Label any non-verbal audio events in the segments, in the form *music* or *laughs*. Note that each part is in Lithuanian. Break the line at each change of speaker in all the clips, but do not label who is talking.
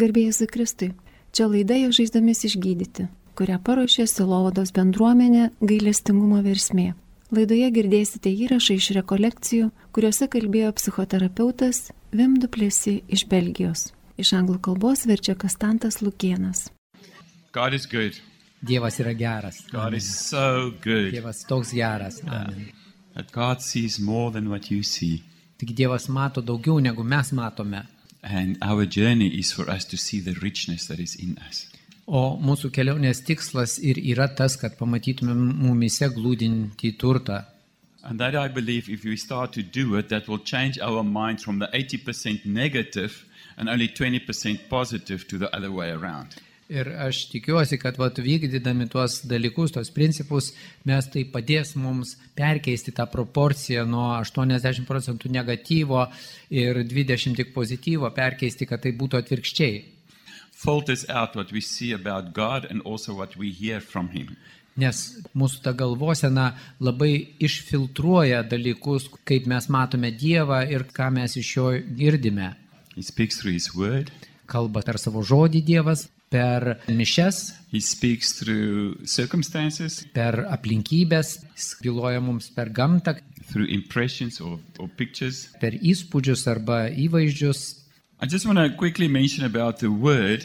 Garbėjus Kristui, čia laida jau žaizdomis išgydyti, kurią paruošė Silovados bendruomenė gailestingumo versmė. Laidoje girdėsite įrašą iš rekolekcijų, kuriuose kalbėjo psichoterapeutas Vim Duplėsi iš Belgijos. Iš anglų kalbos verčia Kastantas Lukienas.
God is good.
Dievas yra geras.
God
Amen.
is so good.
Dievas toks geras. Amen.
That God sees more than what you see.
Tik Dievas mato daugiau negu mes matome.
And our journey is for us to see the richness that is in us.
O mūsų kelionės tikslas ir yra tas, kad pamatytumėm mumise glūdinti turtą.
And that I believe if we start to do it, that will change our mind from the 80% negative and only 20% positive to the other way around.
Ir aš tikiuosi, kad vat, vykdydami tuos dalykus, tuos principus, mes tai padės mums perkeisti tą proporciją nuo 80 procentų negatyvo ir 20 tik pozityvo, perkeisti, kad tai būtų atvirkščiai.
Filters out what we see about God and also what we hear from Him.
Nes mūsų ta galvosena labai išfiltruoja dalykus, kaip mes matome Dievą ir ką mes iš jo girdime.
He speaks through His Word,
Kalba per savo žodį Dievas, per mišes,
He speaks through circumstances,
per aplinkybės, jis byloja mums per gamtą,
through impressions or, or pictures.
per įspūdžius arba įvaizdžius.
I just want to quickly mention about the word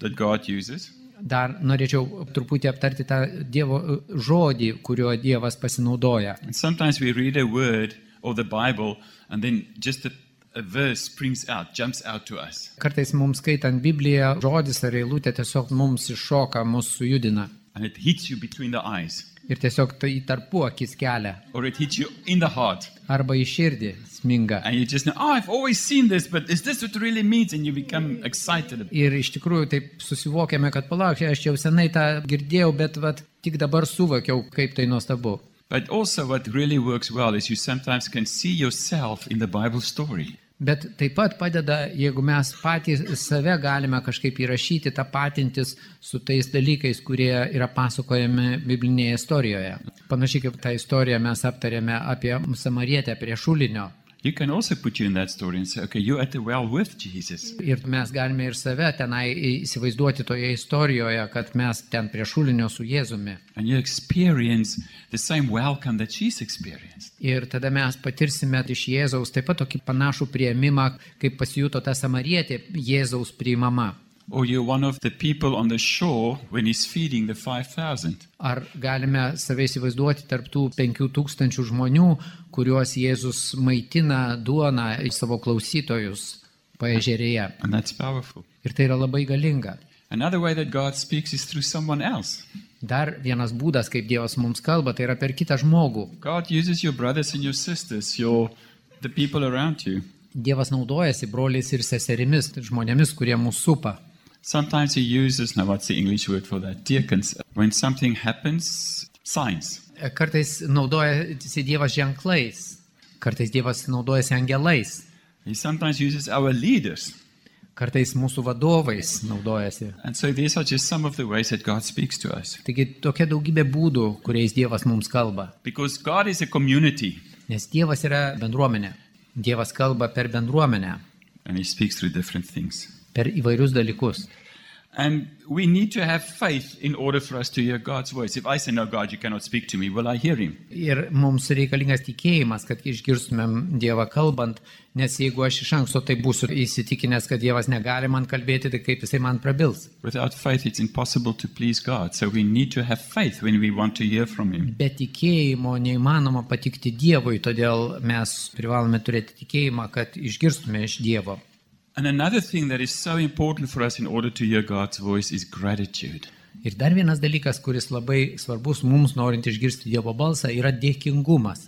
that God uses.
Dar norėčiau truputį aptarti tą Dievo e, žodį, kuriuo Dievas pasinaudoja.
And sometimes we read a word or the Bible, and then just a, a verse springs out, jumps out to us.
Kartais mums skaitant Bibliją, žodis ar eilutė tiesiog mums iššoka, mus sujudina.
And it hits you between the eyes,
Ir tiesiog tai tarpu akis kelia.
or it hits you in the heart.
Arba į širdį sminga.
And you just know, oh, I've always seen this, but is this what it really means? And you become excited.
Ir iš tikrųjų taip susivokėme, kad palauk, aš jau senai tą girdėjau, bet vat, tik dabar suvokiau, kaip tai nuostabu.
But also, what really works well is you sometimes can see yourself in the Bible story.
Bet taip pat padeda, jeigu mes patys save galime kažkaip įrašyti, tapatintis su tais dalykais, kurie yra pasakojami biblinėje istorijoje. Panašiai kaip tą istoriją mes aptarėme apie Samarietę prie Šulinio.
You can also put you in that story and say, okay, you're at the well with Jesus.
Ir mes galime ir save tenai įsivaizduoti toje istorijoje, kad mes ten prie Šulinio su Jėzumi.
And you experience the same welcome that she's experienced.
Ir tada mes patirsime iš Jėzaus taip pat tokį panašų prieimimą, kaip pasijuto ta samarietė Jėzaus priimama.
Or you're one of the people on the shore when he's feeding the 5,000.
Ar galime save įsivaizduoti tarptų penkių tūkstančių žmonių, kuriuos Jėzus maitina duona į savo klausytojus paežerėje.
And that's powerful.
Ir tai yra labai galinga.
Another way that God speaks is through someone else.
Dar vienas būdas, kaip Dievas mums kalba, tai yra per kitą žmogų.
God uses your brothers and your sisters, your the people around you.
Dievas naudojasi broliais ir seserimis, tai žmonėmis, kurie mūsų supa.
Sometimes he uses, now what's the English word for that? Deacons. When something happens, signs.
E, Kartais naudojasi Dievas ženklais, kartais Dievas naudojasi angelais,
He sometimes uses our leaders.
kartais mūsų vadovais naudojasi.
And so these are just some of the ways that God speaks to us.
Taigi tokia daugybė būdų, kuriais Dievas mums kalba.
Because God is a community
Nes Dievas yra bendruomenė. Dievas kalba per bendruomenę,
and he speaks through different things.
per įvairius dalykus.
And we need to have faith in order for us to hear God's voice. If I say, No, God, you cannot speak to me, will I hear him?
Ir mums reikalingas tikėjimas, kad išgirstumėm Dievą kalbant, nes jeigu aš iš anksto tai būsiu įsitikinęs, kad Dievas negali man kalbėti, tai kaip jisai man prabils.
Without faith, it's impossible to please God. So we need to have faith when we want to hear from him.
Be tikėjimo neįmanoma patikti Dievui, todėl mes privalome turėti tikėjimą, kad išgirstume iš Dievo.
And another thing that is so important for us in order to hear God's voice is gratitude.
Ir dar vienas dalykas, kuris labai svarbus mums norint išgirsti Dievo balsą, yra dėkingumas.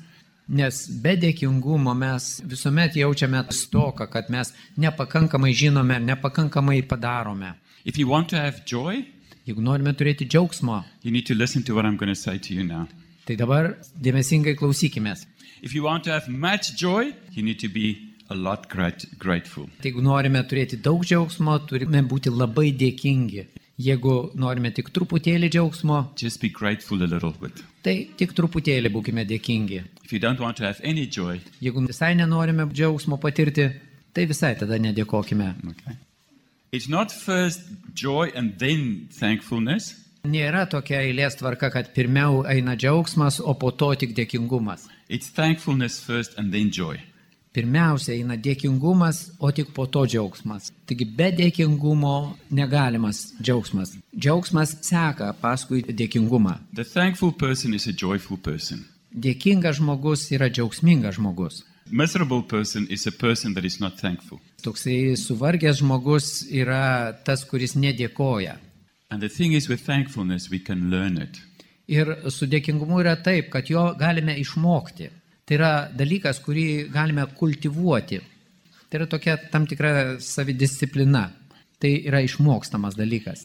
Nes be dėkingumo mes visuomet jaučiame stoką, kad mes nepakankamai žinome, nepakankamai padarome.
If you want to have joy,
Jeigu norime turėti džiaugsmo,
you need to listen to what I'm going to say to you now.
tai dabar dėmesingai klausykimės.
If you want to have much joy, you need to be a lot grat- grateful.
Tai Jeigu norime turėti daug džiaugsmo, turime būti labai dėkingi. Jeigu norime tik truputėlį džiaugsmo,
Just be grateful a little bit.
tai tik truputėlį būkime dėkingi.
If you don't want to have any joy,
Jeigu visai nenorime džiaugsmo patirti, tai visai tada nedėkokime.
okay. It's not first joy and then thankfulness.
Nėra tokia eilės tvarka, kad pirmiau eina džiaugsmas, o po to tik dėkingumas.
It's thankfulness first and then joy.
Pirmiausia eina dėkingumas, o tik po to džiaugsmas. Taigi be dėkingumo negalimas džiaugsmas. Džiaugsmas seka paskui dėkingumą.
The thankful person is a joyful person.
Dėkingas žmogus yra džiaugsmingas žmogus.
Miserable person is a person that is not thankful.
Toksai suvargęs žmogus yra tas, kuris nedėkoja.
And the thing is, with thankfulness, we can learn it.
Ir su dėkingumu yra taip, kad jo galime išmokti. Tai yra dalykas, kurį galime kultivuoti. Tai yra tokia tam tikra savidisciplina. Tai yra išmokstamas dalykas.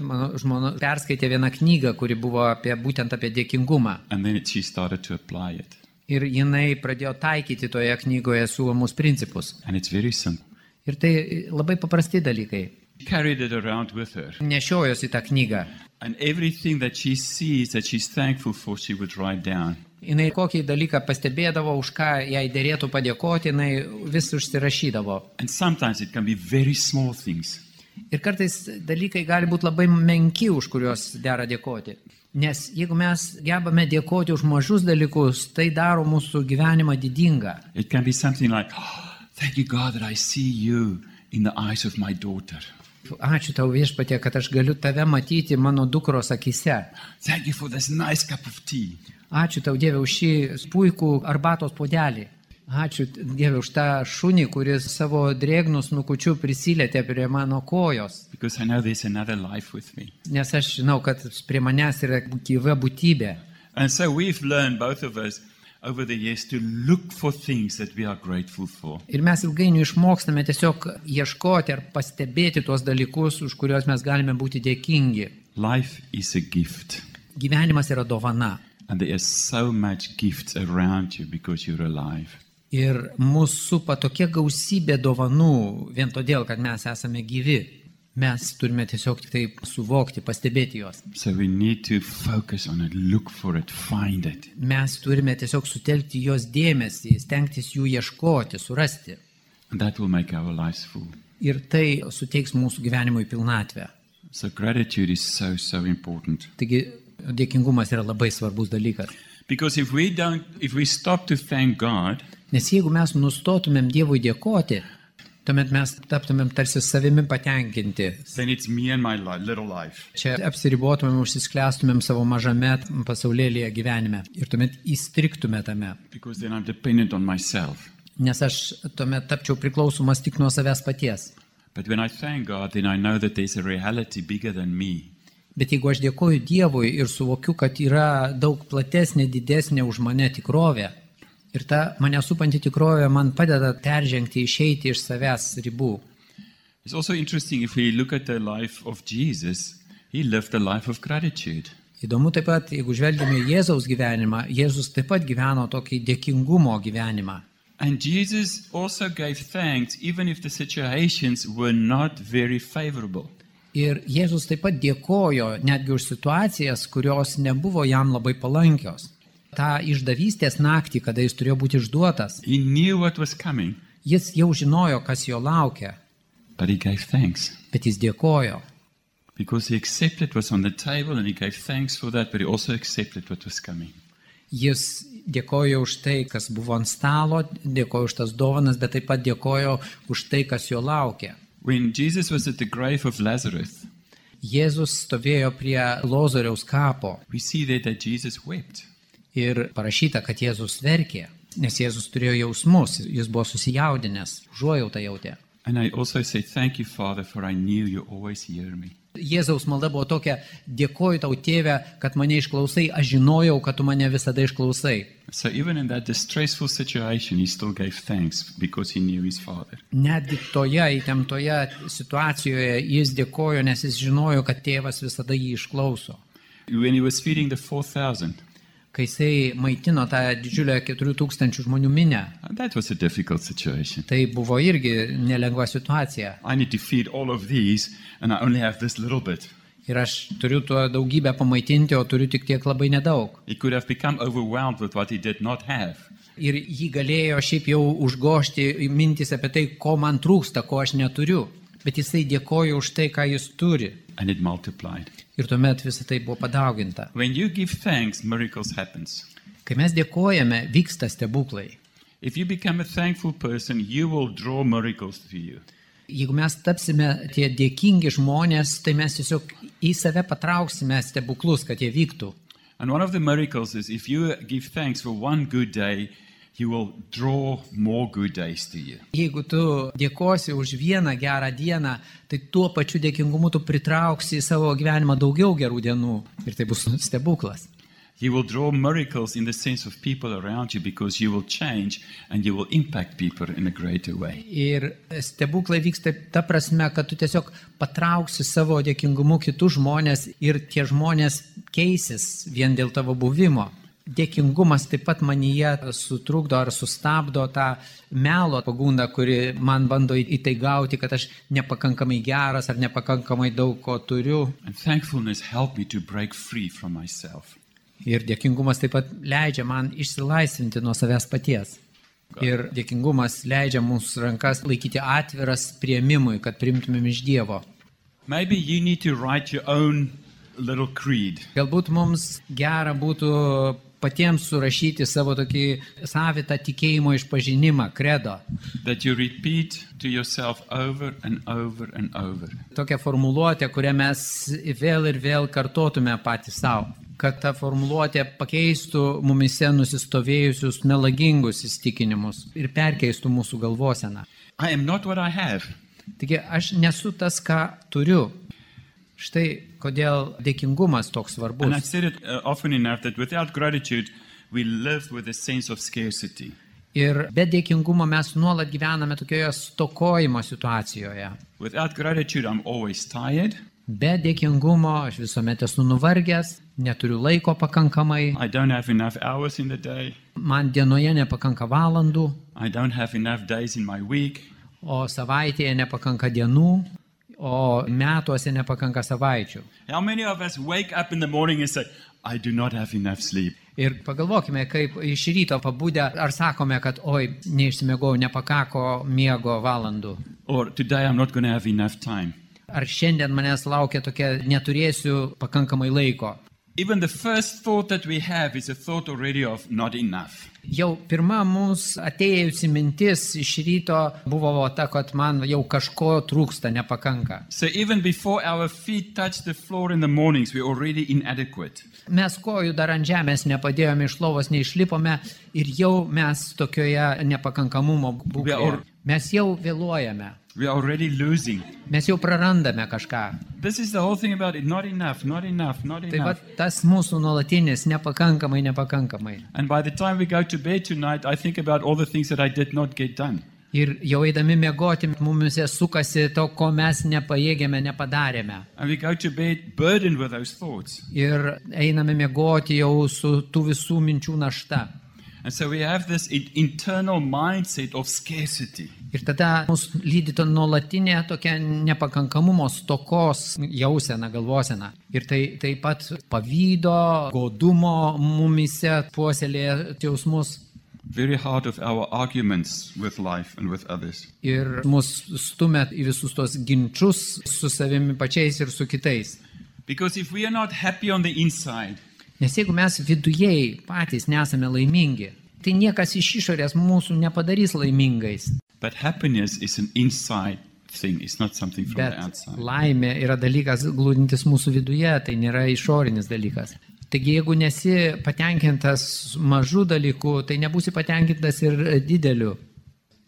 Mano žmona perskaitė vieną knygą, kuri buvo apie, būtent apie dėkingumą.
And then she started to apply it.
Ir jinai pradėjo taikyti toje knygoje siūlomus principus.
And it's very simple.
Ir tai labai paprasti dalykai.
She carried it around with her.
Nešiojosi tą knygą.
And everything that she sees that she's thankful for, she would write down.
Jis kokį dalyką pastebėdavo, už ką jai dėrėtų padėkoti, jinai vis užsirašydavo.
And sometimes it can be very small things.
Ir kartais dalykai gali būti labai menki, už kuriuos dera dėkoti. Nes jeigu mes gebame dėkoti už mažus dalykus, tai daro mūsų gyvenimą didingą.
It can be something like, oh, Thank you, God, that I see you in the eyes of my daughter.
Ačiū tau viešpatė, kad aš galiu tave matyti mano dukros akise.
Thank you for this nice cup of tea.
Ačiū tau Dieve už šį puikų arbatos podelį. Ačiū Dieve už tą šunį, kuris savo drėgnus nukučiu prisilietė prie mano kojos.
Because I know there's another life with me.
Nes aš žinau, kad prie manęs yra gyva būtybė.
And so we've learned, both of us, over the years to look for things that we are grateful for.
Ir mes ilgainiui išmokstame tiesiog ieškoti ar pastebėti tuos dalykus, už kuriuos mes galime būti dėkingi.
Life is a gift,
Gyvenimas yra dovana.
and there is so much gifts around you because you're alive.
Ir mūsų supa tokia gausybė dovanų vien todėl, kad mes esame gyvi. Mes turime tiesiog tik taip suvokti, pastebėti juos.
So we need to focus on it, look for it, find it.
Mes turime tiesiog sutelkti jos dėmesį, stengtis jų ieškoti, surasti.
And that will make our lives full.
Ir tai suteiks mūsų gyvenimui pilnatvę.
So gratitude is so, so important.
Taigi dėkingumas yra labai svarbus dalykas.
Because if we don't, if we stop to thank God,
Nes jeigu mes nustotumėm Dievui dėkoti, tuomet mes taptumėm tarsi savimi patenkinti.
then it's me and my li- little life.
Čia apsiribotumėm, užsisklęstumėm savo mažame pasaulėlėje gyvenime ir tuomet įstriktume tame.
Because then I'm dependent on myself.
Nes aš tuomet tapčiau priklausomas tik nuo savęs paties.
But when I thank God, then I know that there's a reality bigger than me.
Bet jeigu aš dėkoju Dievui ir suvokiu, kad yra daug platesnė, didesnė už mane tikrovė, ir ta mane supanti tikrovė man padeda peržengti, išeiti iš savęs ribų.
It's also interesting if we look at the life of Jesus, he lived a life of gratitude.
Įdomu taip pat, jeigu žvelgime į Jėzaus gyvenimą, Jėzus taip pat gyveno tokį dėkingumo gyvenimą.
And Jesus also gave thanks even if the situations were not very favorable.
Ir Jėzus taip pat dėkojo netgi už situacijas, kurios nebuvo jam labai palankios. Ta išdavystės naktį, kada jis turėjo būti išduotas,
He knew what was coming,
jis jau žinojo, kas jo laukia,
but he gave thanks
bet jis dėkojo.
because he accepted what's on the table and he gave thanks for that, but he also accepted what was coming.
Jis dėkojo už tai, kas buvo ant stalo, dėkojo už tas dovanas, bet taip pat dėkojo už tai, kas jo laukia.
When Jesus was at the grave of Lazarus,
Jėzus stovėjo prie Lozoriaus kapo
we see there that Jesus wept.
ir parašyta, kad Jėzus verkė, nes Jėzus turėjo jausmus, jis buvo susijaudinęs, užuojautą jautė.
And I also say, Thank you, Father, for I knew you always hear me.
Jėzaus malda buvo tokia, dėkoju tau tėvę, kad mane išklausai, aš žinojau, kad tu mane visada išklausai.
So even in that distressful situation, he still gave thanks because he knew his Father.
Netgi toje įtemptoje situacijoje jis dėkojo, nes jis žinojo, kad tėvas visada jį išklauso.
When he was feeding the 4,000,
Kai jisai maitino tą didžiulę 4000 žmonių minę,
and that was a difficult situation.
tai buvo irgi nelengva situacija.
I need to feed all of these, and I only have this little bit.
Ir aš turiu tuo daugybę pamaitinti, o turiu tik tiek labai nedaug.
He could have become overwhelmed with what he did not have.
Ir jį galėjo šiaip jau užgošti mintis apie tai, ko man trūksta, ko aš neturiu. bet jisai dėkojo už tai, ką jis turi.
and it multiplied.
Ir tuomet visą tai buvo padauginta.
When you give thanks, miracles happens.
Kai mes dėkojame, vyksta stebuklai.
If you become a thankful person, you will draw miracles to you.
Jeigu mes tapsime tie dėkingi žmonės, tai mes tiesiog į save patrauksime stebuklus, kad jie vyktų.
And one of the miracles is if you give thanks for one good day, you will draw more good days to you.
Jeigu tu dėkosi už vieną gerą dieną, tai tuo pačiu dėkingumu tu pritrauksi į savo gyvenimą daugiau gerų dienų. Ir tai bus stebuklas.
You will draw miracles in the sense of people around you because you will change and you will impact people in a greater way.
Ir stebuklai vyksta ta prasme, kad tu tiesiog patrauksi savo dėkingumu kitus žmonės ir tie žmonės keisis vien dėl tavo buvimo. Dėkingumas taip pat manyje sutrukdo ar sustabdo tą melo pagundą, kuri man bando į į tai gauti, kad aš nepakankamai geras ar nepakankamai daug ko turiu.
And thankfulness helped me to break free from myself.
Ir dėkingumas taip pat leidžia man išsilaisvinti nuo savęs paties. Ir dėkingumas leidžia mūsų rankas laikyti atviras prieimimui, kad primtumėm iš Dievo.
Maybe you need to write your own little creed.
Galbūt mums gera būtų patiems surašyti savo tokį savitą tikėjimo išpažinimą, kredo.
that you repeat to yourself over and over and over.
Tokią formuluotę, kurią mes vėl ir vėl kartotume patys savo. Kad ta formuluotė pakeistų mumise nusistovėjusius melagingus įstikinimus ir perkeistų mūsų galvoseną.
I am not what I have.
Taigi aš nesu tas, ką turiu. Štai kodėl dėkingumas toks
And I've
svarbus.
said it uh, often enough that without gratitude, we live with a sense of scarcity.
Ir be dėkingumo mes nuolat gyvename tokioje stokojimo situacijoje.
Without gratitude, I'm always tired.
Be dėkingumo aš visuomet esu nuvargęs, neturiu laiko pakankamai,
I don't have enough hours in the day.
man dienoje nepakanka valandų,
I don't have enough days in my week.
o savaitėje nepakanka dienų, o metuose nepakanka savaičių.
How many of us wake up in the morning and say, I do not have enough sleep?
Ir pagalvokime, kaip iš ryto pabudę, ar sakome, kad oi, neišsimegojau, nepakako miego valandų.
Or today I'm not going to have enough time.
Ar šiandien manęs laukia tokia neturėsiu pakankamai laiko?
Even the first thought that we have is a thought already of not enough.
Jau pirma mums atėjusi mintis iš ryto buvo va ta, kad man jau kažko trūksta, nepakanka.
So even before our feet touch the floor in the mornings, we're already inadequate.
Mes kojų dar ant žemės nepadėjome, iš lovos neišlipome ir jau mes tokioje nepakankamumo būklėje.
Vėl-
Mes jau vėluojame,
We are already losing.
mes jau prarandame kažką.
This is the whole thing about it. Not enough, not enough, not
Tai va
enough.
tas mūsų nuolatinis nepakankamai, nepakankamai.
And by the time we go to bed tonight, I think about all the things that I did not get done.
Ir jau eidami mėgoti, mumise sukasi to, ko mes nepajėgėme, nepadarėme.
And we go to bed burdened with those thoughts.
Ir einame mėgoti jau su tų visų minčių našta.
And so we have this in- internal mindset of scarcity.
Ir tada mūsų lydyto nuolatinė tokia nepakankamumo stokos jausena, galvosena. Ir tai taip pat pavydo, godumo mumise puoselėja jausmus.
Very hard of our arguments with life and with others.
Ir mus stumia į visus tos ginčius su savimi pačiais ir su kitais.
Because if we are not happy on the inside,
Nes jeigu mes vidujei patys nesame laimingi, tai niekas iš išorės mūsų nepadarys laimingais.
but happiness is an inside thing, it's not something from the
Bet
outside.
laimė yra dalykas glūdintis mūsų viduje, tai nėra išorinis dalykas. Taigi jeigu nesi patenkintas mažų dalykų, tai nebūsi patenkintas ir dideliu.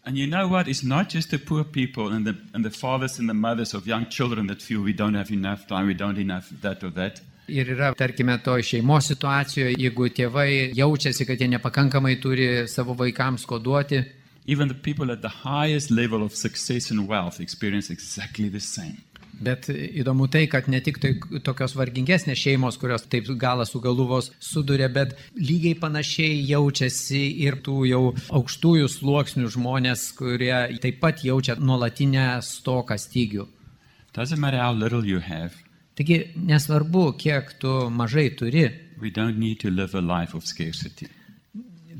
And you know what? It's not just the poor people and the, and the fathers and the mothers of young children that feel we don't have enough time, we don't enough that or that.
Ir yra, tarkime, to šeimos situacijoje, jeigu tėvai jaučiasi, kad jie nepakankamai turi savo vaikams ko duoti,
Even the people at the highest level of success and wealth experience exactly the same.
Bet įdomu tai, kad ne tik tai tokios vargingesnės šeimos, kurios taip galą su galuvos suduria, bet lygiai panašiai jaučiasi ir tų jau aukštųjų sluoksnių žmonės, kurie taip pat jaučia nuolatinę stoką stygių.
Doesn't matter how little you have,
Taigi nesvarbu, kiek tu mažai turi,
we don't need to live a life of scarcity.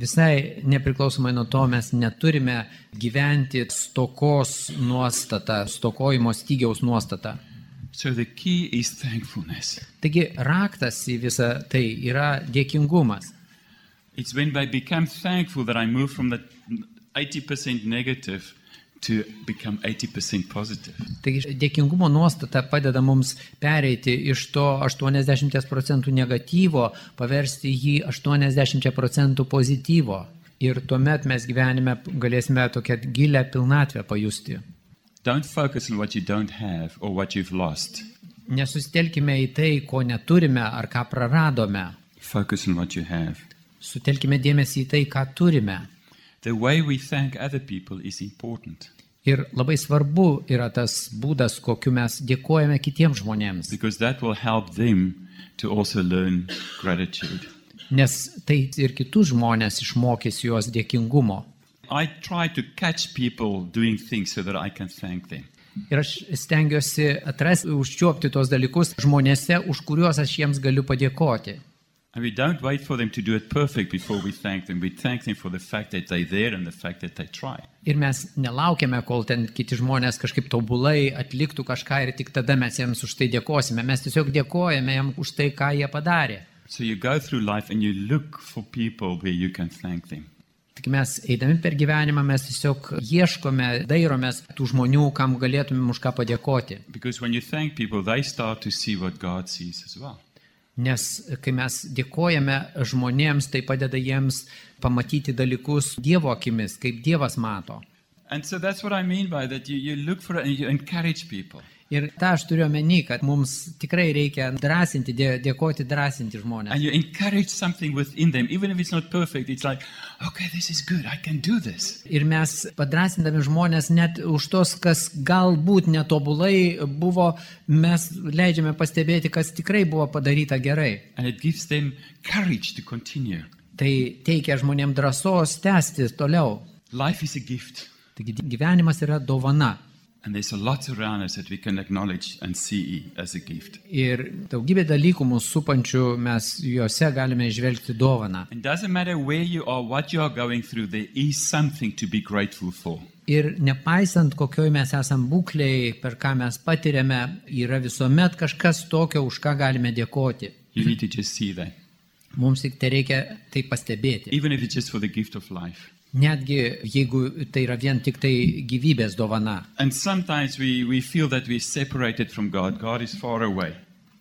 Visai nepriklausomai nuo to mes neturime gyventi stokos nuostatą, stokojimo stygiaus nuostatą.
So the key is thankfulness.
Taigi raktas į visą tai yra dėkingumas.
It's when I become thankful that I move from the 80% negative to become 80% positive.
Taigi dėkingumo nuostata padeda mums pereiti iš to 80 procentų negatyvo, paversti jį 80 procentų pozityvo. Ir tuomet mes gyvenime galėsime tokią gilę pilnatvę pajusti.
Don't focus on what you don't have or what you've lost.
Nesusitelkime į tai, ko neturime ar ką praradome.
Focus on what you have.
Sutelkime dėmesį į tai, ką turime.
The way we thank other people is important
Ir labai svarbu yra tas būdas, kokiu mes dėkojame kitiems žmonėms,
because that will help them to also learn gratitude.
nes tai ir kitus žmonės išmokys juos dėkingumo.
I try to catch people doing things so that I can thank them.
Ir aš stengiuosi atrasti, užčiuopti tos dalykus žmonėse, už kuriuos aš jiems galiu padėkoti.
And we don't wait for them to do it perfect before we thank them. We thank them for the fact that they're there and the fact that they try.
Ir mes nelaukiame, kol ten kiti žmonės kažkaip tobulai atliktų kažką ir tik tada mes jiems už tai dėkosime. Mes tiesiog dėkojame jam už tai, ką jie padarė.
So you go through life and you look for people where you can thank them.
Tik mes eidami per gyvenimą mes tiesiog ieškome, dairomės tų žmonių, kam galėtumėm už ką padėkoti.
Because when you thank people, they start to see what God sees as well.
Nes kai mes dėkojame žmonėms, tai padeda jiems pamatyti dalykus Dievo akimis, kaip Dievas mato.
And so that's what I mean by that. You, you look for it and you encourage people.
Ir tą aš turiu omeny, kad mums tikrai reikia drąsinti, dė, dėkoti drąsinti
And
žmonės.
you encourage something within them, even if it's not perfect. It's like, okay, this is good. I can do this.
Ir mes padrasindami žmonės net už tos, kas galbūt netobulai buvo, mes leidžiame pastebėti, kas tikrai buvo padaryta gerai.
And it gives them courage to continue.
Tai teikia žmonėms drąsos tęsti toliau.
Life is a gift.
Taigi dy- gyvenimas yra dovana.
And there's a lot around us that we can acknowledge and see as a gift.
Ir daugybė dalykų mūsų supančių mes juose galime išvelgti dovaną.
It doesn't matter where you are, what you are going through, there is something to be grateful for.
Ir nepaisant kokioj mes esam būkliai, per ką mes patiriame, yra visuomet kažkas tokio, už ką galime dėkoti.
You need to just see that,
Mums tik tai reikia tai pastebėti.
even if it's just for the gift of life.
Netgi jeigu tai yra vien tik tai gyvybės dovana.
And sometimes we, we feel that we're separated from God, God is far away.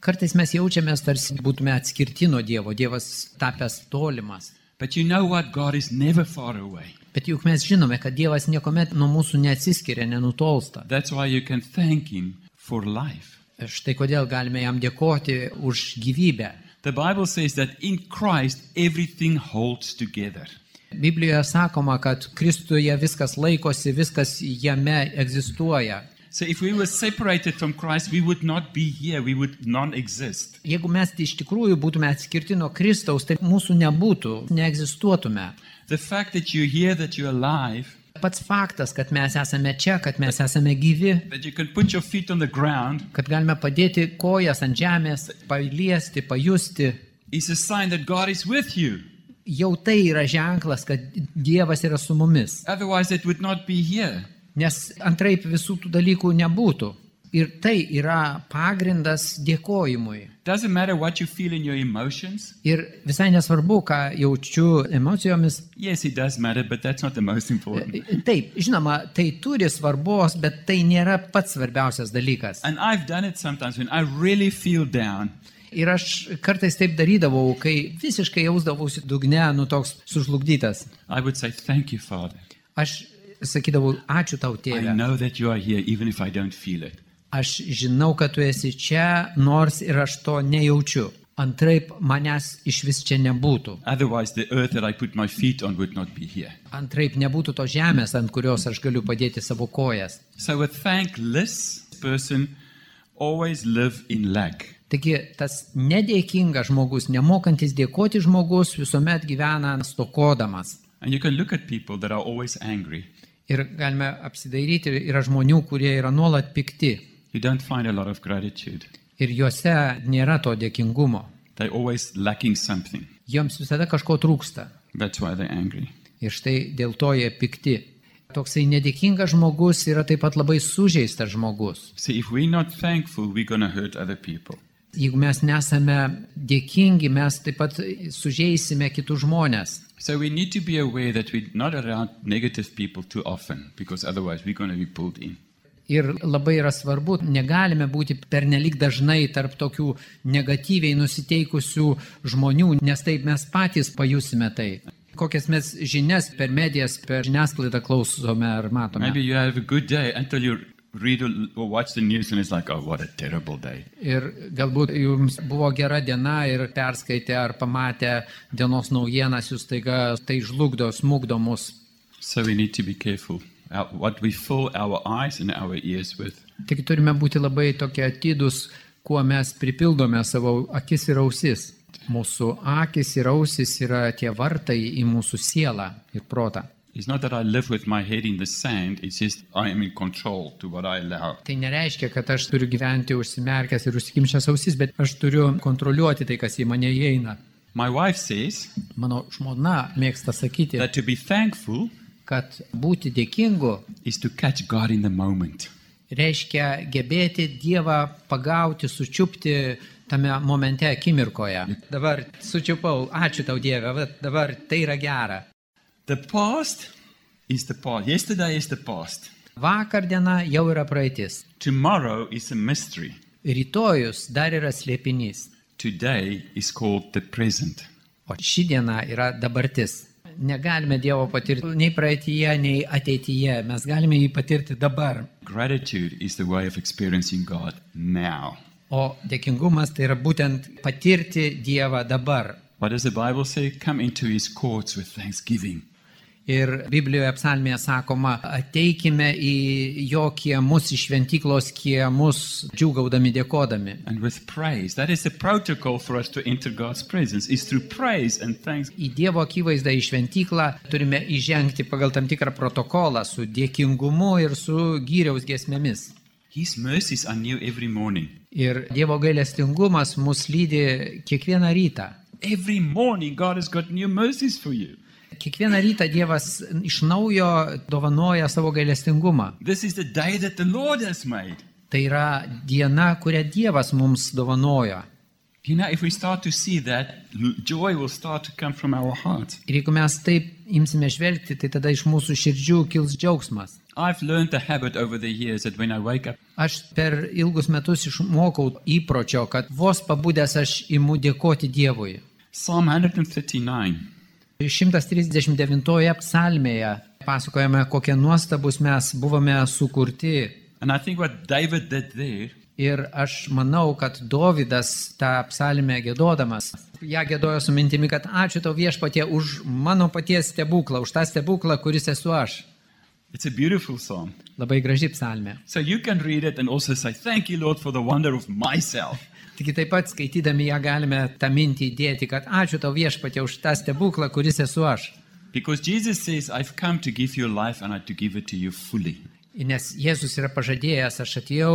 Kartais mes jaučiamės tarsi būtume atskirti nuo Dievo, Dievas tapęs tolimas.
But you know what? God is never far away.
Bet juk mes žinome, kad Dievas niekuomet nuo mūsų neatsiskiria, nenutolsta.
That's why you can thank Him for life.
Štai kodėl galime jam dėkoti už gyvybę.
The Bible says that in Christ everything holds together.
Biblijoje sakoma, kad Kristuje viskas laikosi, viskas jame egzistuoja.
So if we were separated from Christ, we would not be here, we would non exist.
Jeigu mes iš tikrųjų būtume atskirti nuo Kristaus, tai mūsų nebūtų, neegzistuotume.
The fact that you're here, that you're alive,
Pats faktas, kad mes esame čia, kad mes esame gyvi,
that you can put your feet on the ground,
kad galime padėti kojas ant žemės, paliesti, pajusti,
is a sign that God is with you.
jau tai yra ženklas, kad Dievas yra su mumis.
Otherwise, it would not be here.
Nes antraip visų tų dalykų nebūtų. Ir tai yra pagrindas dėkojimui.
Doesn't matter what you feel in your emotions.
Ir visai nesvarbu, ką jaučiu emocijomis.
Yes, it does matter, but that's not the most
Uh,
important.
Taip, žinoma, tai turi svarbos, bet tai nėra pats svarbiausias dalykas.
And I've done it sometimes when I really feel down.
Ir aš kartais taip darydavau, kai visiškai jausdavausi dugne, nu toks sužlugdytas.
I would say, Thank you, Father.
Aš sakydavau, ačiū tau,
I
tėve.
know that you are here, even if I don't feel it.
Aš žinau, kad tu esi čia, nors ir aš to nejaučiu. Antraip manęs iš vis čia nebūtų.
Otherwise, the earth that I put my feet on would not be here.
Antraip nebūtų to žemės, ant kurios aš galiu padėti savo kojas.
So a thankless person always live in lack.
Taigi tas nedėkingas žmogus, nemokantis dėkoti žmogus, visuomet gyvena stokodamas.
And you can look at people that are always angry.
Ir galime apsidairyti, yra žmonių, kurie yra nuolat pikti
You don't find a lot of gratitude.
ir juose nėra to dėkingumo.
They're always lacking something.
Joms visada kažko trūksta.
That's why they're angry.
Ir štai dėl to jie pikti. Toksai nedėkingas žmogus yra taip pat labai sužeistas žmogus.
See, if we're not thankful, we're going to hurt other people.
Jeigu mes nesame dėkingi, mes taip pat sužeisime kitus žmonės.
So we need to be aware that we're not around negative people too often because otherwise we're going to be pulled in.
Ir labai yra svarbu, negalime būti pernelik dažnai tarp tokių negatyviai nusiteikusių žmonių, nes taip mes patys pajusime tai. Kokias mes žinias per medijas, per žiniasklaidą klausome ar matome.
Maybe you have a good day until you read or- or watch the news and it's like, oh, what a terrible day.
Ir galbūt jums buvo gera diena ir perskaitė ar pamatė dienos naujienas, jūs taiga tai žlugdo, smūgdo mus.
So we need to be careful uh, what we fill our eyes and our ears with.
Tik turime būti labai tokie atidus, kuo mes pripildome savo akis ir ausis. Mūsų akis ir ausis yra tie vartai į mūsų sielą ir protą.
It's not that I live with my head in the sand, it's just I am in control to what I allow.
Tai nereiškia, kad aš turiu gyventi užsimerkęs ir užsikimšęs ausis, bet aš turiu kontroliuoti tai, kas į mane įeina.
My wife says
Mano žmona mėgsta sakyti,
that to be thankful
kad būti dėkingu
is to catch God in the moment.
reiškia gebėti Dievą pagauti, sučiupti tame momente akimirkoje. Dabar sučiupau, ačiū tau Dieve, va, dabar tai yra gera.
The past is the past. Yesterday is the past.
Vakar diena jau yra praeitis,
Tomorrow is a mystery.
rytojus dar yra slėpinys,
Today is called the present.
o ši diena yra dabartis. Negalime Dievo patirti nei praeitie, nei ateityje, mes galime jį patirti dabar.
Gratitude is the way of experiencing God now.
O dėkingumas tai yra būtent patirti Dievą dabar.
What does the Bible say? Come into his courts with thanksgiving.
Ir Biblijoje psalmėje sakoma, ateikime į jo kiemus, į šventyklos kiemus, džiugaudami dėkodami.
And with praise. That is the protocol for us to enter God's presence, is through praise and thanks.
Į Dievo akivaizdą, į šventyklą turime įžengti pagal tam tikrą protokolą su dėkingumu ir su gyriaus gesmėmis.
His mercies are new every morning.
Ir Dievo gailestingumas mus lydi kiekvieną rytą.
Every morning, God has got new mercies for you.
Kiekvieną rytą Dievas iš naujo dovanoja savo gailestingumą.
This is the day that the Lord has made.
Tai yra diena, kurią Dievas mums dovanoja.
You know, if we start to see that, l- joy will start to come from our hearts.
Ir jeigu mes taip imsime žvelgti, tai tada iš mūsų širdžių kils džiaugsmas.
I've learned the habit over the years that when I wake up,
Aš per ilgus metus išmokau įpročio, kad vos pabudęs aš imu dėkoti Dievui.
Psalm 139,
139 psalmėje pasakojame, kokie nuostabus mes buvome sukurti.
and I think what David did there,
Ir aš manau, kad Dovydas tą psalmę gėdodamas, ją gėdojo su mintimi, kad ačiū tau viešpatie už mano paties stebuklą, už tą stebuklą, kuris esu aš.
it's a beautiful psalm.
Labai graži psalmė.
So you can read it and also say, Thank you, Lord, for the wonder of myself.
Tik taip pat skaitydami ją galime tą mintį įdėti, kad ačiū tau viešpatė už tą stebuklą, kuris esu aš.
Because Jesus says, I've come to give you life and I to give it to you fully.
Nes Jėzus yra pažadėjęs, aš atėjau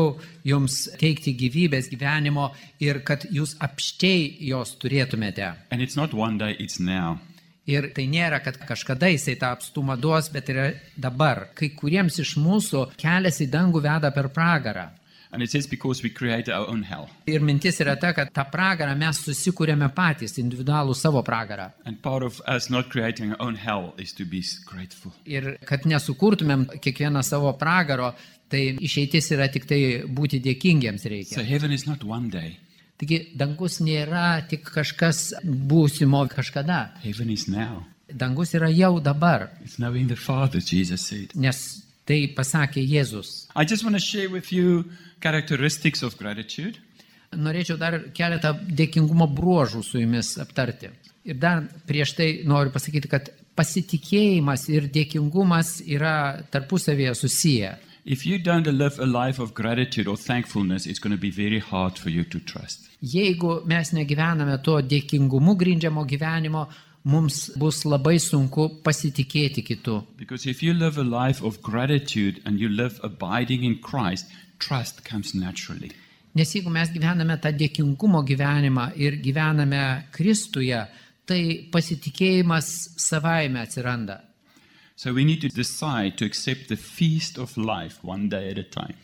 jums teikti gyvybės gyvenimo ir kad jūs apščiai jos turėtumėte.
And it's not one day, it's now.
Ir tai nėra, kad kažkada jisai tą apstumą duos, bet yra dabar. Kai kuriems iš mūsų kelias į dangų veda per pragarą.
And it says, Because we create our own hell.
Ir mintis yra ta, kad tą pragarą mes susikūrėme patys, individualų savo pragarą.
And part of us not creating our own hell is to be grateful.
Ir kad nesukurtumėm kiekvieną savo pragaro, tai išeitis yra tik tai būti dėkingiems
So
reikia.
heaven is not one day,
Taigi dangus nėra tik kažkas būsimo kažkada.
heaven is now.
Dangus yra jau dabar,
It's knowing the Father, Jesus said.
nes tai pasakė Jėzus.
I just want to share with you characteristics of gratitude.
Norėčiau dar keletą dėkingumo bruožų su jumis aptarti. Ir dar prieš tai noriu pasakyti, kad pasitikėjimas ir dėkingumas yra tarpusavėje susiję.
If you don't live a life of gratitude or thankfulness, it's going to be very hard for you to trust.
Jeigu mes negyvename to dėkingumu grindžiamo gyvenimo, mums bus labai sunku pasitikėti kitų.
Because if you live a life of gratitude and you live abiding in Christ, trust comes naturally.
Nes jeigu mes gyvename tą dėkingumo gyvenimą ir gyvename Kristuje, tai pasitikėjimas savaime atsiranda.
So we need to decide to accept the feast of life one day at a time.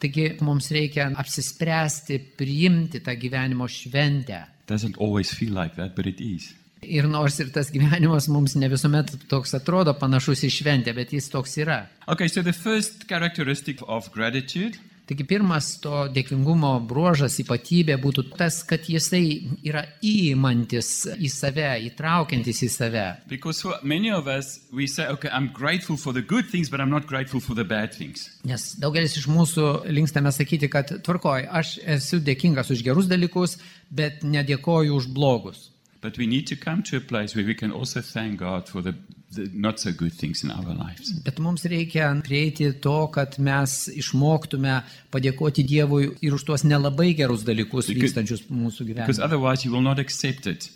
Taigi mums reikia apsispręsti, priimti tą gyvenimo šventę.
Doesn't always feel like that, but it is.
Ir nors ir tas gyvenimas mums ne visuomet toks atrodo panašus į šventę, bet jis toks yra.
Okay, so the first characteristic of gratitude
Taigi pirmas to dėkingumo bruožas, ypatybė būtų tas, kad jisai yra įimantis į save, įtraukiantis į save.
Because for many of us, we say, okay, I'm grateful for the good things, but I'm not grateful for the bad things.
Nes daugelis iš mūsų linkstame sakyti, kad tvarkoj, aš esu dėkingas už gerus dalykus, bet nedėkoju už blogus.
But we need to come to a place where we can also thank God for the, the not so good things in our lives.
Bet mums reikia prieiti to, kad mes išmoktume padėkoti Dievui ir už tuos nelabai gerus dalykus
Because-
vykstančius mūsų
Because
gyvenime.
otherwise, you will not accept it.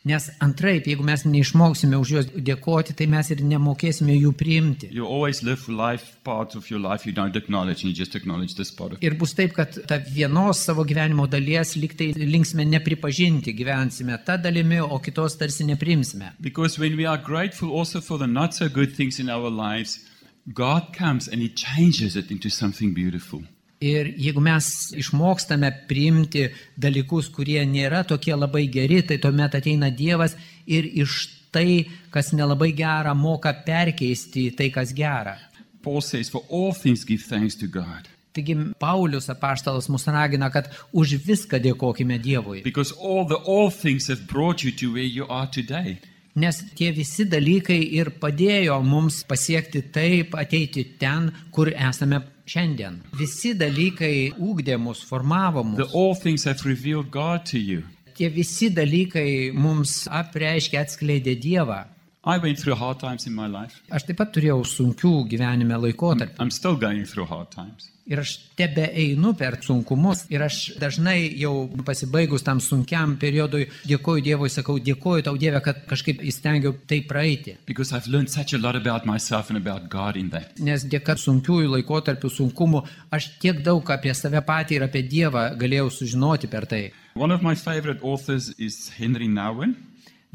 Nes antraip, jeigu mes neišmoksime už juos dėkoti, tai mes ir nemokėsime jų priimti.
You always live life parts of your life you don't acknowledge, and you just acknowledge this part of it.
Ir bus taip, kad tą vienos savo gyvenimo dalies liktai linksime nepripažinti, gyvensime tą dalimi, o kitos tarsi neprimsime.
Because when we are grateful also for the not so good things in our lives, God comes and He changes it into something beautiful.
Ir jeigu mes išmokstame priimti dalykus, kurie nėra tokie labai geri, tai tuomet ateina Dievas ir iš tai, kas nelabai gera, moka perkeisti į tai, kas gera.
Paul says, For all things give thanks to God.
Taigi Paulius apaštalas mus ragina, kad už viską dėkojime Dievui.
Because all the all things have brought you to where you are today.
Nes tie visi dalykai ir padėjo mums pasiekti taip, ateiti ten, kur esame šiandien. Visi dalykai ūkdė mus, formavo
The
mus.
all things have revealed God to you.
Tie visi dalykai mums apreiškia, atskleidė Dievą.
I went through hard times in my life.
Aš taip pat turėjau sunkių gyvenime laikotarpių
I'm still going through hard times.
ir aš tebe einu per sunkumus ir aš dažnai jau pasibaigus tam sunkiam periodui dėkoju Dievui, sakau, dėkoju tau Dieve, kad kažkaip įstengiau tai praeiti.
Because I've learned such a lot about myself and about God in that.
Nes dėka sunkiųjų laikotarpių sunkumų aš tiek daug apie save patį ir apie Dievą galėjau sužinoti per tai.
One of my favorite authors is Henry Nouwen.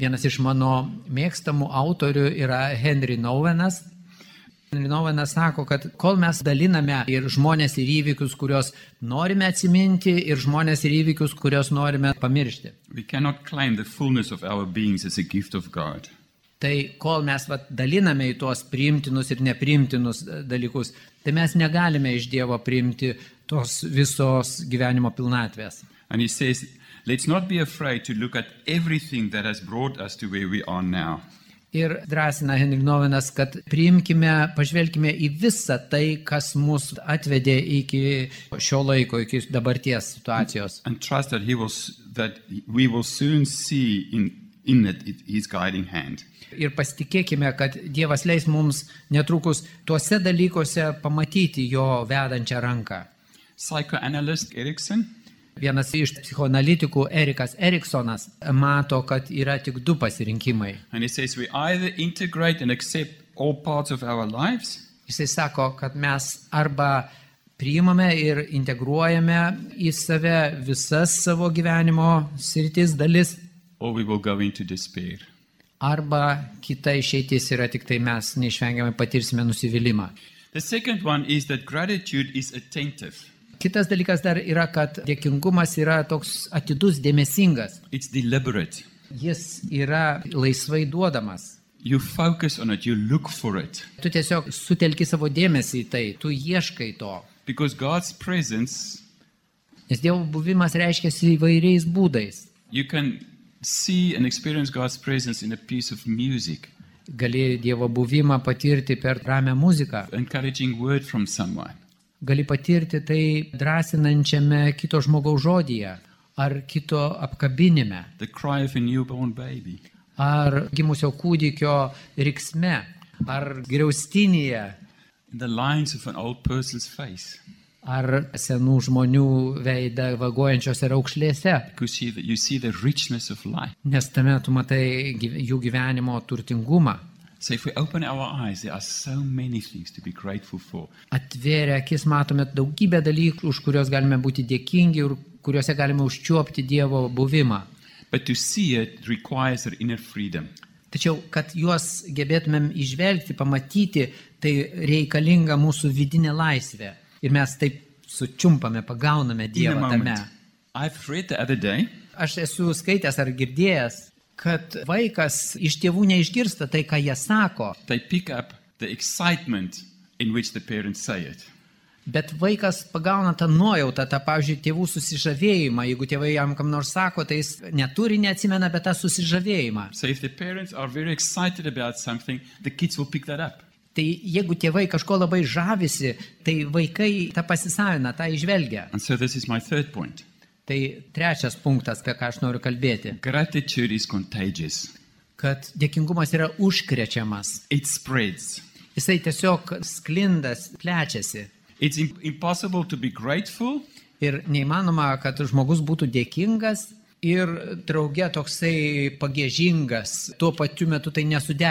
Vienas iš mano mėgstamų autorių yra Henry Nouvenas. Henry Nouvenas sako, kad kol mes daliname ir žmonės ir įvykius, kuriuos norime atsiminti, ir žmonės ir įvykius, kuriuos norime pamiršti.
We cannot claim the fullness of our beings as a gift of God.
Tai kol mes vat, daliname į tuos priimtinus ir nepriimtinus e, dalykus, tai mes negalime iš Dievo priimti tos visos gyvenimo pilnatvės.
And he says, let's not be afraid to look at everything that has brought us to where we are now.
Ir drąsina Henrik Novinas, kad priimkime, pažvelkime į visą tai, kas mus atvedė iki šio laiko, iki dabarties situacijos.
and trust that he will s- that we will soon see in in it, it his guiding hand
Ir pasitikėkime, kad Dievas leis mums netrukus tuose dalykuose pamatyti jo vedančią ranką.
psychoanalyst erickson
Vienas iš psichoanalitikų, Erikas Eriksonas, mato, kad yra tik du pasirinkimai.
and he says we either integrate and accept all parts of our lives
Jisai sako, kad mes arba priimame ir integruojame į save visas savo gyvenimo sritis dalis,
or we will go into despair
arba kita išeitis yra tik tai mes neišvengiamai patirsime nusivylimą.
the second one is that gratitude is attentive
Kitas dalykas dar yra, kad dėkingumas yra toks atidus, dėmesingas.
it's deliberate
Jis yra laisvai duodamas.
you focus on it you look for it
Tu tiesiog sutelki savo dėmesį į tai, tu ieškai to.
because god's presence
Nes Dievo buvimas reiškia įvairiais būdais.
you can see and experience god's presence in a piece of music
Gali Dievo buvimą patirti per ramę muziką.
encouraging word from someone
Gali patirti tai drąsinančiame kito žmogaus žodyje, ar kito apkabinime,
the cry of a newborn baby
ar gimusio kūdikio riksme, ar griaustinėje,
in the lines of an old person's face
ar senų žmonių veidą vagojančiose raukšlėse.
because you, you see the richness of life.
Nes tame tu matai gyv- jų gyvenimo turtingumą.
So if we open our eyes, there are so many things to be grateful for.
Atvėrę akis matome daugybę dalykų, už kuriuos galime būti dėkingi ir kuriuose galime užčiuopti Dievo buvimą.
But to see it requires an inner freedom.
Tačiau, kad juos gebėtumėm išvelgti, pamatyti, tai reikalinga mūsų vidinė laisvė. Ir mes taip sučiumpame, pagauname
In a
Dievą tame.
moment. I've read the other day
Aš esu skaitęs ar girdėjęs, kad vaikas iš tėvų neišgirsta tai, ką jie sako,
they pick up the excitement in which the parents say it.
bet vaikas pagauna tą nuojautą, tą, pavyzdžiui, tėvų susižavėjimą. Jeigu tėvai jam kam nors sako, tai jis neturi, neatsimena, bet tą susižavėjimą.
So if the parents are very excited about something, the kids will pick that up.
Tai jeigu tėvai kažko labai žavisi, tai vaikai tą pasisavina, tą išvelgia.
And so this is my third point.
Tai trečias punktas, apie ką aš noriu kalbėti,
Gratitude is contagious.
kad dėkingumas yra užkrečiamas.
It spreads.
Jisai tiesiog sklindas, plečiasi.
It's im- impossible to be grateful
Ir neįmanoma, kad žmogus būtų dėkingas ir drauge toksai pagėžingas. Tuo pačiu metu tai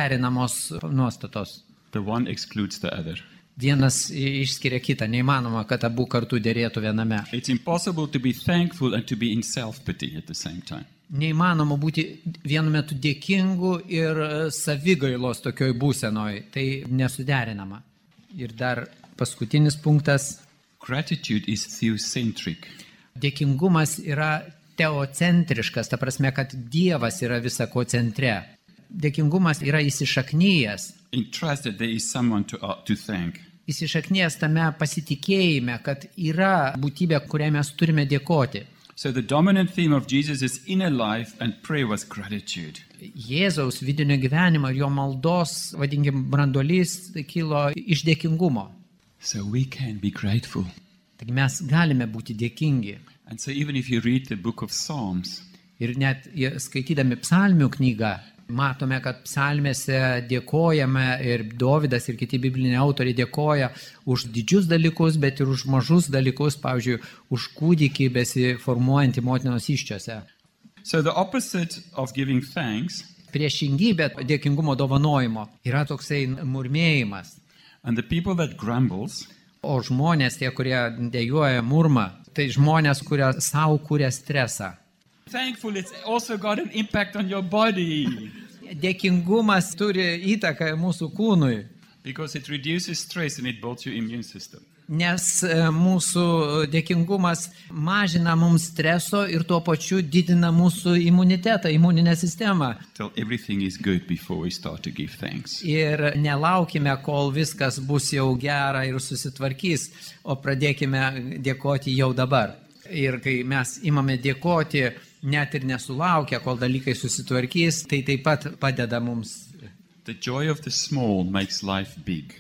nesuderinamos nuostatos.
The one excludes the other.
Vienas i- išskiria kitą, neįmanoma, kad abu kartu dėrėtų viename.
It's impossible to be thankful and to be in self pity at the same time.
Neįmanoma būti vienu metu dėkingu ir e, savigailos tokioj būsenoj. Tai nesuderinama. Ir dar paskutinis punktas.
Gratitude is theocentric.
Dėkingumas yra teocentriškas, ta prasme, kad Dievas yra visako centre. Dėkingumas yra įsišaknyjęs.
In trust that there is someone to, uh, to thank.
Įsišaknyjęs tame pasitikėjime, kad yra būtybė, kuriai mes turime dėkoti.
So the dominant theme of Jesus' inner life and prayer was gratitude.
Jėzaus vidinio gyvenimo ir jo maldos, vadinkim, branduolys kilo iš dėkingumo.
So we can be grateful.
Taigi mes galime būti dėkingi.
And so even if you read the book of Psalms,
Ir net i- skaitydami psalmių knygą, matome, kad psalmėse dėkojame ir Dovydas ir kiti bibliniai autoriai dėkoja už didžius dalykus, bet ir už mažus dalykus, pavyzdžiui, už kūdikį besiformuojantį motinos iščiose.
so the opposite of giving thanks
Priešingybė dėkingumo dovanojimo yra toksai murmėjimas.
and the people that grumbles
O žmonės, tie, kurie dėjoja murmą, tai žmonės, kurie savo kūrė stresą.
thankful it's also got an impact on your *laughs* body
Dėkingumas turi įtaką mūsų kūnui.
because it reduces stress and it builds your immune system.
Nes e, mūsų dėkingumas mažina mums streso ir tuo pačiu didina mūsų imunitetą, imuninę sistemą.
Till everything is good before we start to give thanks.
Ir nelaukime, kol viskas bus jau gera ir susitvarkys, o pradėkime dėkoti jau dabar. Ir kai mes imame dėkoti, net ir nesulaukę, kol dalykai susitvarkys, tai taip pat padeda mums.
The joy of the small makes life big.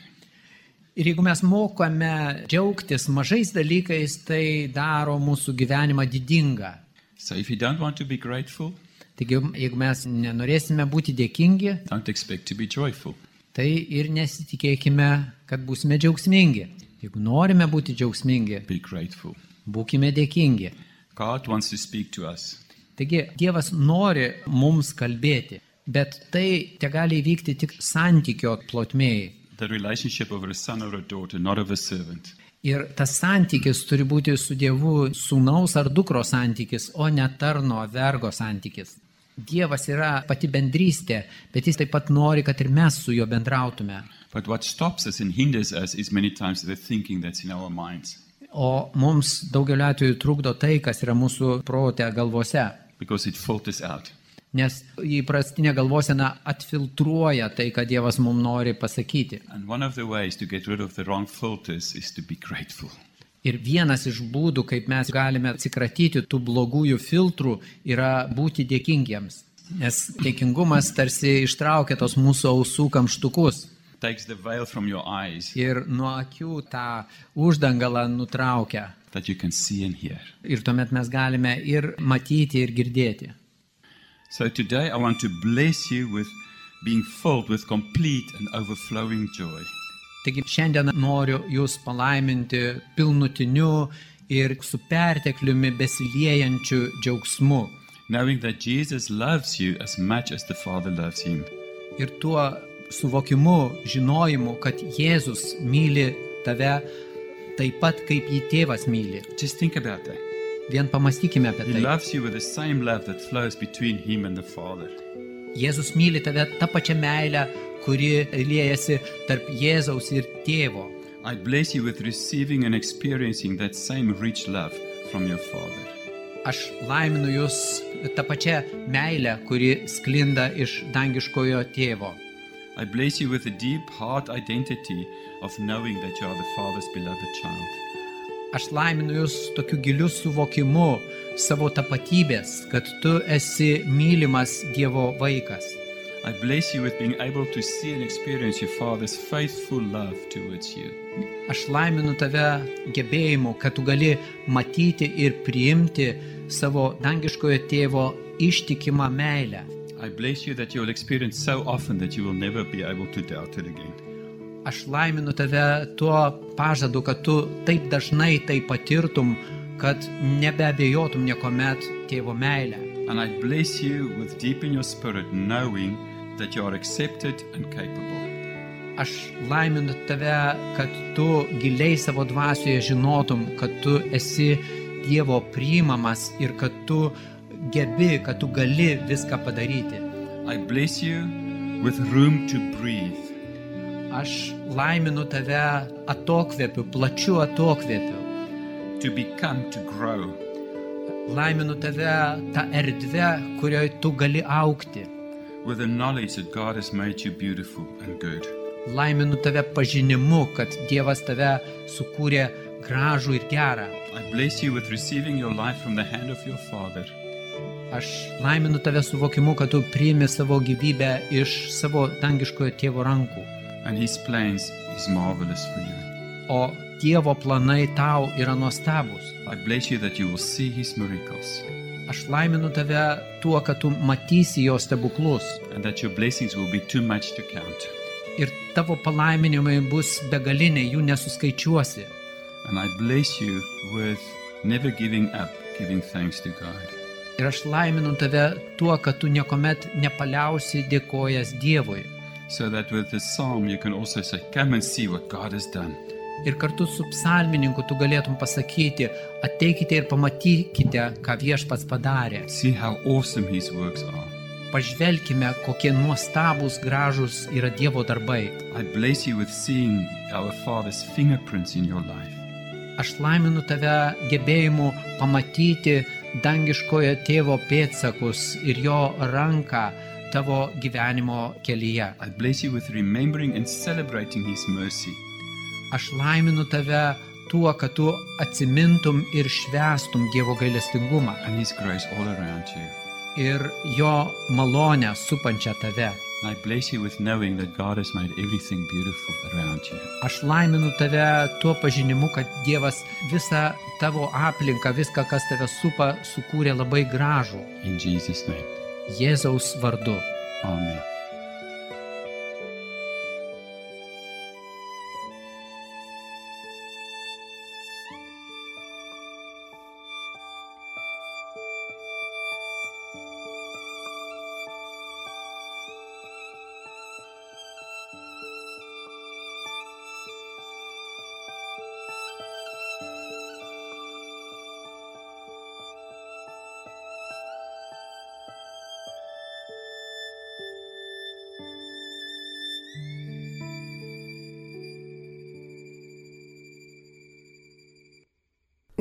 Ir jeigu mes mokame džiaugtis mažais dalykais, tai daro mūsų gyvenimą didingą.
So if you don't want to be grateful,
Taigi, jeigu mes nenorėsime būti dėkingi,
don't expect to be joyful.
tai ir nesitikėkime, kad būsime džiaugsmingi. Jeigu norime būti džiaugsmingi,
Be grateful.
būkime dėkingi.
God wants to speak to us.
Taigi, Dievas nori mums kalbėti, bet tai te gali įvykti tik santykio plotmėjai.
The relationship of a son or a daughter, not of a servant.
Ir tas santykis turi būti su Dievu sūnaus ar dukro santykis, o ne tarno ar vergo santykis. Dievas yra pati bendrystė, bet jis taip pat nori, kad ir mes su juo bendrautume.
But what stops us and hinders us is many times the thinking that's in our minds.
O mums daugeliu atveju trukdo tai, kas yra mūsų protė galvose,
because it filters out.
nes įprastinė galvosena atfiltruoja tai, ką Dievas mums nori pasakyti.
And one of the ways to get rid of the wrong filters is to be grateful.
Ir vienas iš būdų, kaip mes galime atsikratyti tų blogųjų filtrų, yra būti dėkingiems. Nes dėkingumas tarsi ištraukia tos mūsų ausų kamštukus
Takes the veil from your eyes
ir nuo akių tą uždangalą nutraukia.
that you can see and hear.
Ir tuomet mes galime ir matyti, ir girdėti.
So today I want to bless you with being filled with complete and overflowing joy.
Taigi šiandien noriu Jūs palaiminti pilnutiniu ir su pertekliumi besiliejančiu džiaugsmu.
Knowing that Jesus loves you as much as the Father loves him.
Ir tuo suvokimu, žinojimu, kad Jėzus myli tave taip pat, kaip jį tėvas myli.
Just think about that.
Vien pamastykime apie
He
tai.
loves you with the same love that flows between Him and the Father.
Jėzus myli tave tą pačią meilę, kuri liejasi tarp Jėzaus ir tėvo.
I bless you with receiving and experiencing that same rich love from your Father.
Aš laiminu jūs tą pačią meilę, kuri sklinda iš dangiškojo tėvo.
I bless you with a deep heart identity of knowing that you are the Father's beloved child.
Aš laiminu jūs tokiu giliu suvokimu savo tapatybės, kad tu esi mylimas Dievo vaikas.
I bless you with being able to see and experience your Father's faithful love towards you.
Aš laiminu tave gebėjimu, kad tu gali matyti ir priimti savo dangiškojo tėvo ištikimą meilę.
I bless you that you will experience so often that you will never be able to doubt it again.
Aš laiminu tave tuo pažadu, kad tu taip dažnai tai patirtum, kad nebeabejotum niekuomet tėvo meilę.
And I bless you with deep in your spirit knowing that you are accepted and capable.
Aš laiminu tave, kad tu giliai savo dvasioje žinotum, kad tu esi Dievo priimamas ir kad tu gebi, kad tu gali viską padaryti.
I bless you with room to breathe.
Aš laiminu tave atokvėpiu, plačiu atokvėpiu.
to become, to grow.
Laiminu tave tą erdvę, kurioje tu gali aukti.
With the knowledge that God has made you beautiful and good.
Laiminu tave pažinimu, kad Dievas tave sukūrė gražų ir gerą.
I bless you with receiving your life from the hand of your Father.
Aš laiminu tave suvokimu, kad tu priimi savo gyvybę iš savo dangiškojo tėvo rankų.
And His plans is marvelous for you.
O Dievo planai tau yra nuostabus.
I bless you that you will see His miracles
Aš laiminu tave tuo, kad tu matysi jo stebuklus.
and that your blessings will be too much to count.
Ir tavo palaiminimai bus begaliniai, jų nesuskaičiuosi.
And I bless you with never giving up, giving thanks to God.
Ir aš laiminu tave tuo, kad tu niekuomet nepaliausi dėkojas Dievui.
So that with this psalm you can also say, Come and see what God has done.
Ir kartu su psalmininku tu galėtum pasakyti, ateikite ir pamatykite, ką viešpats padarė.
See how awesome His works are.
Pažvelkime, kokie nuostabūs gražus yra Dievo darbai.
I bless you with seeing our Father's fingerprints in your life.
Aš laiminu tave gebėjimu pamatyti dangiškojo tėvo pėtsakus ir jo ranką tavo gyvenimo kelyje.
I bless you with remembering and celebrating His mercy.
Aš laiminu tave tuo, kad tu atsimintum ir švestum Dievo gailestingumą
and His grace all around you.
ir jo malonę supančią tave.
And I bless you with knowing that God has made everything beautiful around you.
Aš laiminu tave tuo pažinimu, kad Dievas visą tavo aplinką, viską, kas tave supa, sukūrė labai gražų
In Jesus' name,
Jėzaus vardu.
Amen.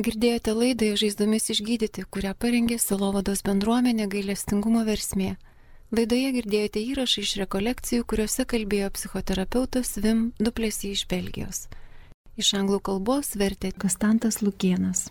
Girdėjote laidą Žaizdomis išgydyti, kurią parengė Silovados bendruomenė gailestingumo versmė. Laidoje girdėjote įrašą iš rekolekcijų, kuriuose kalbėjo psichoterapeutas Vim Duplesy iš Belgijos. Iš anglų kalbos vertė Konstantas Lukienas.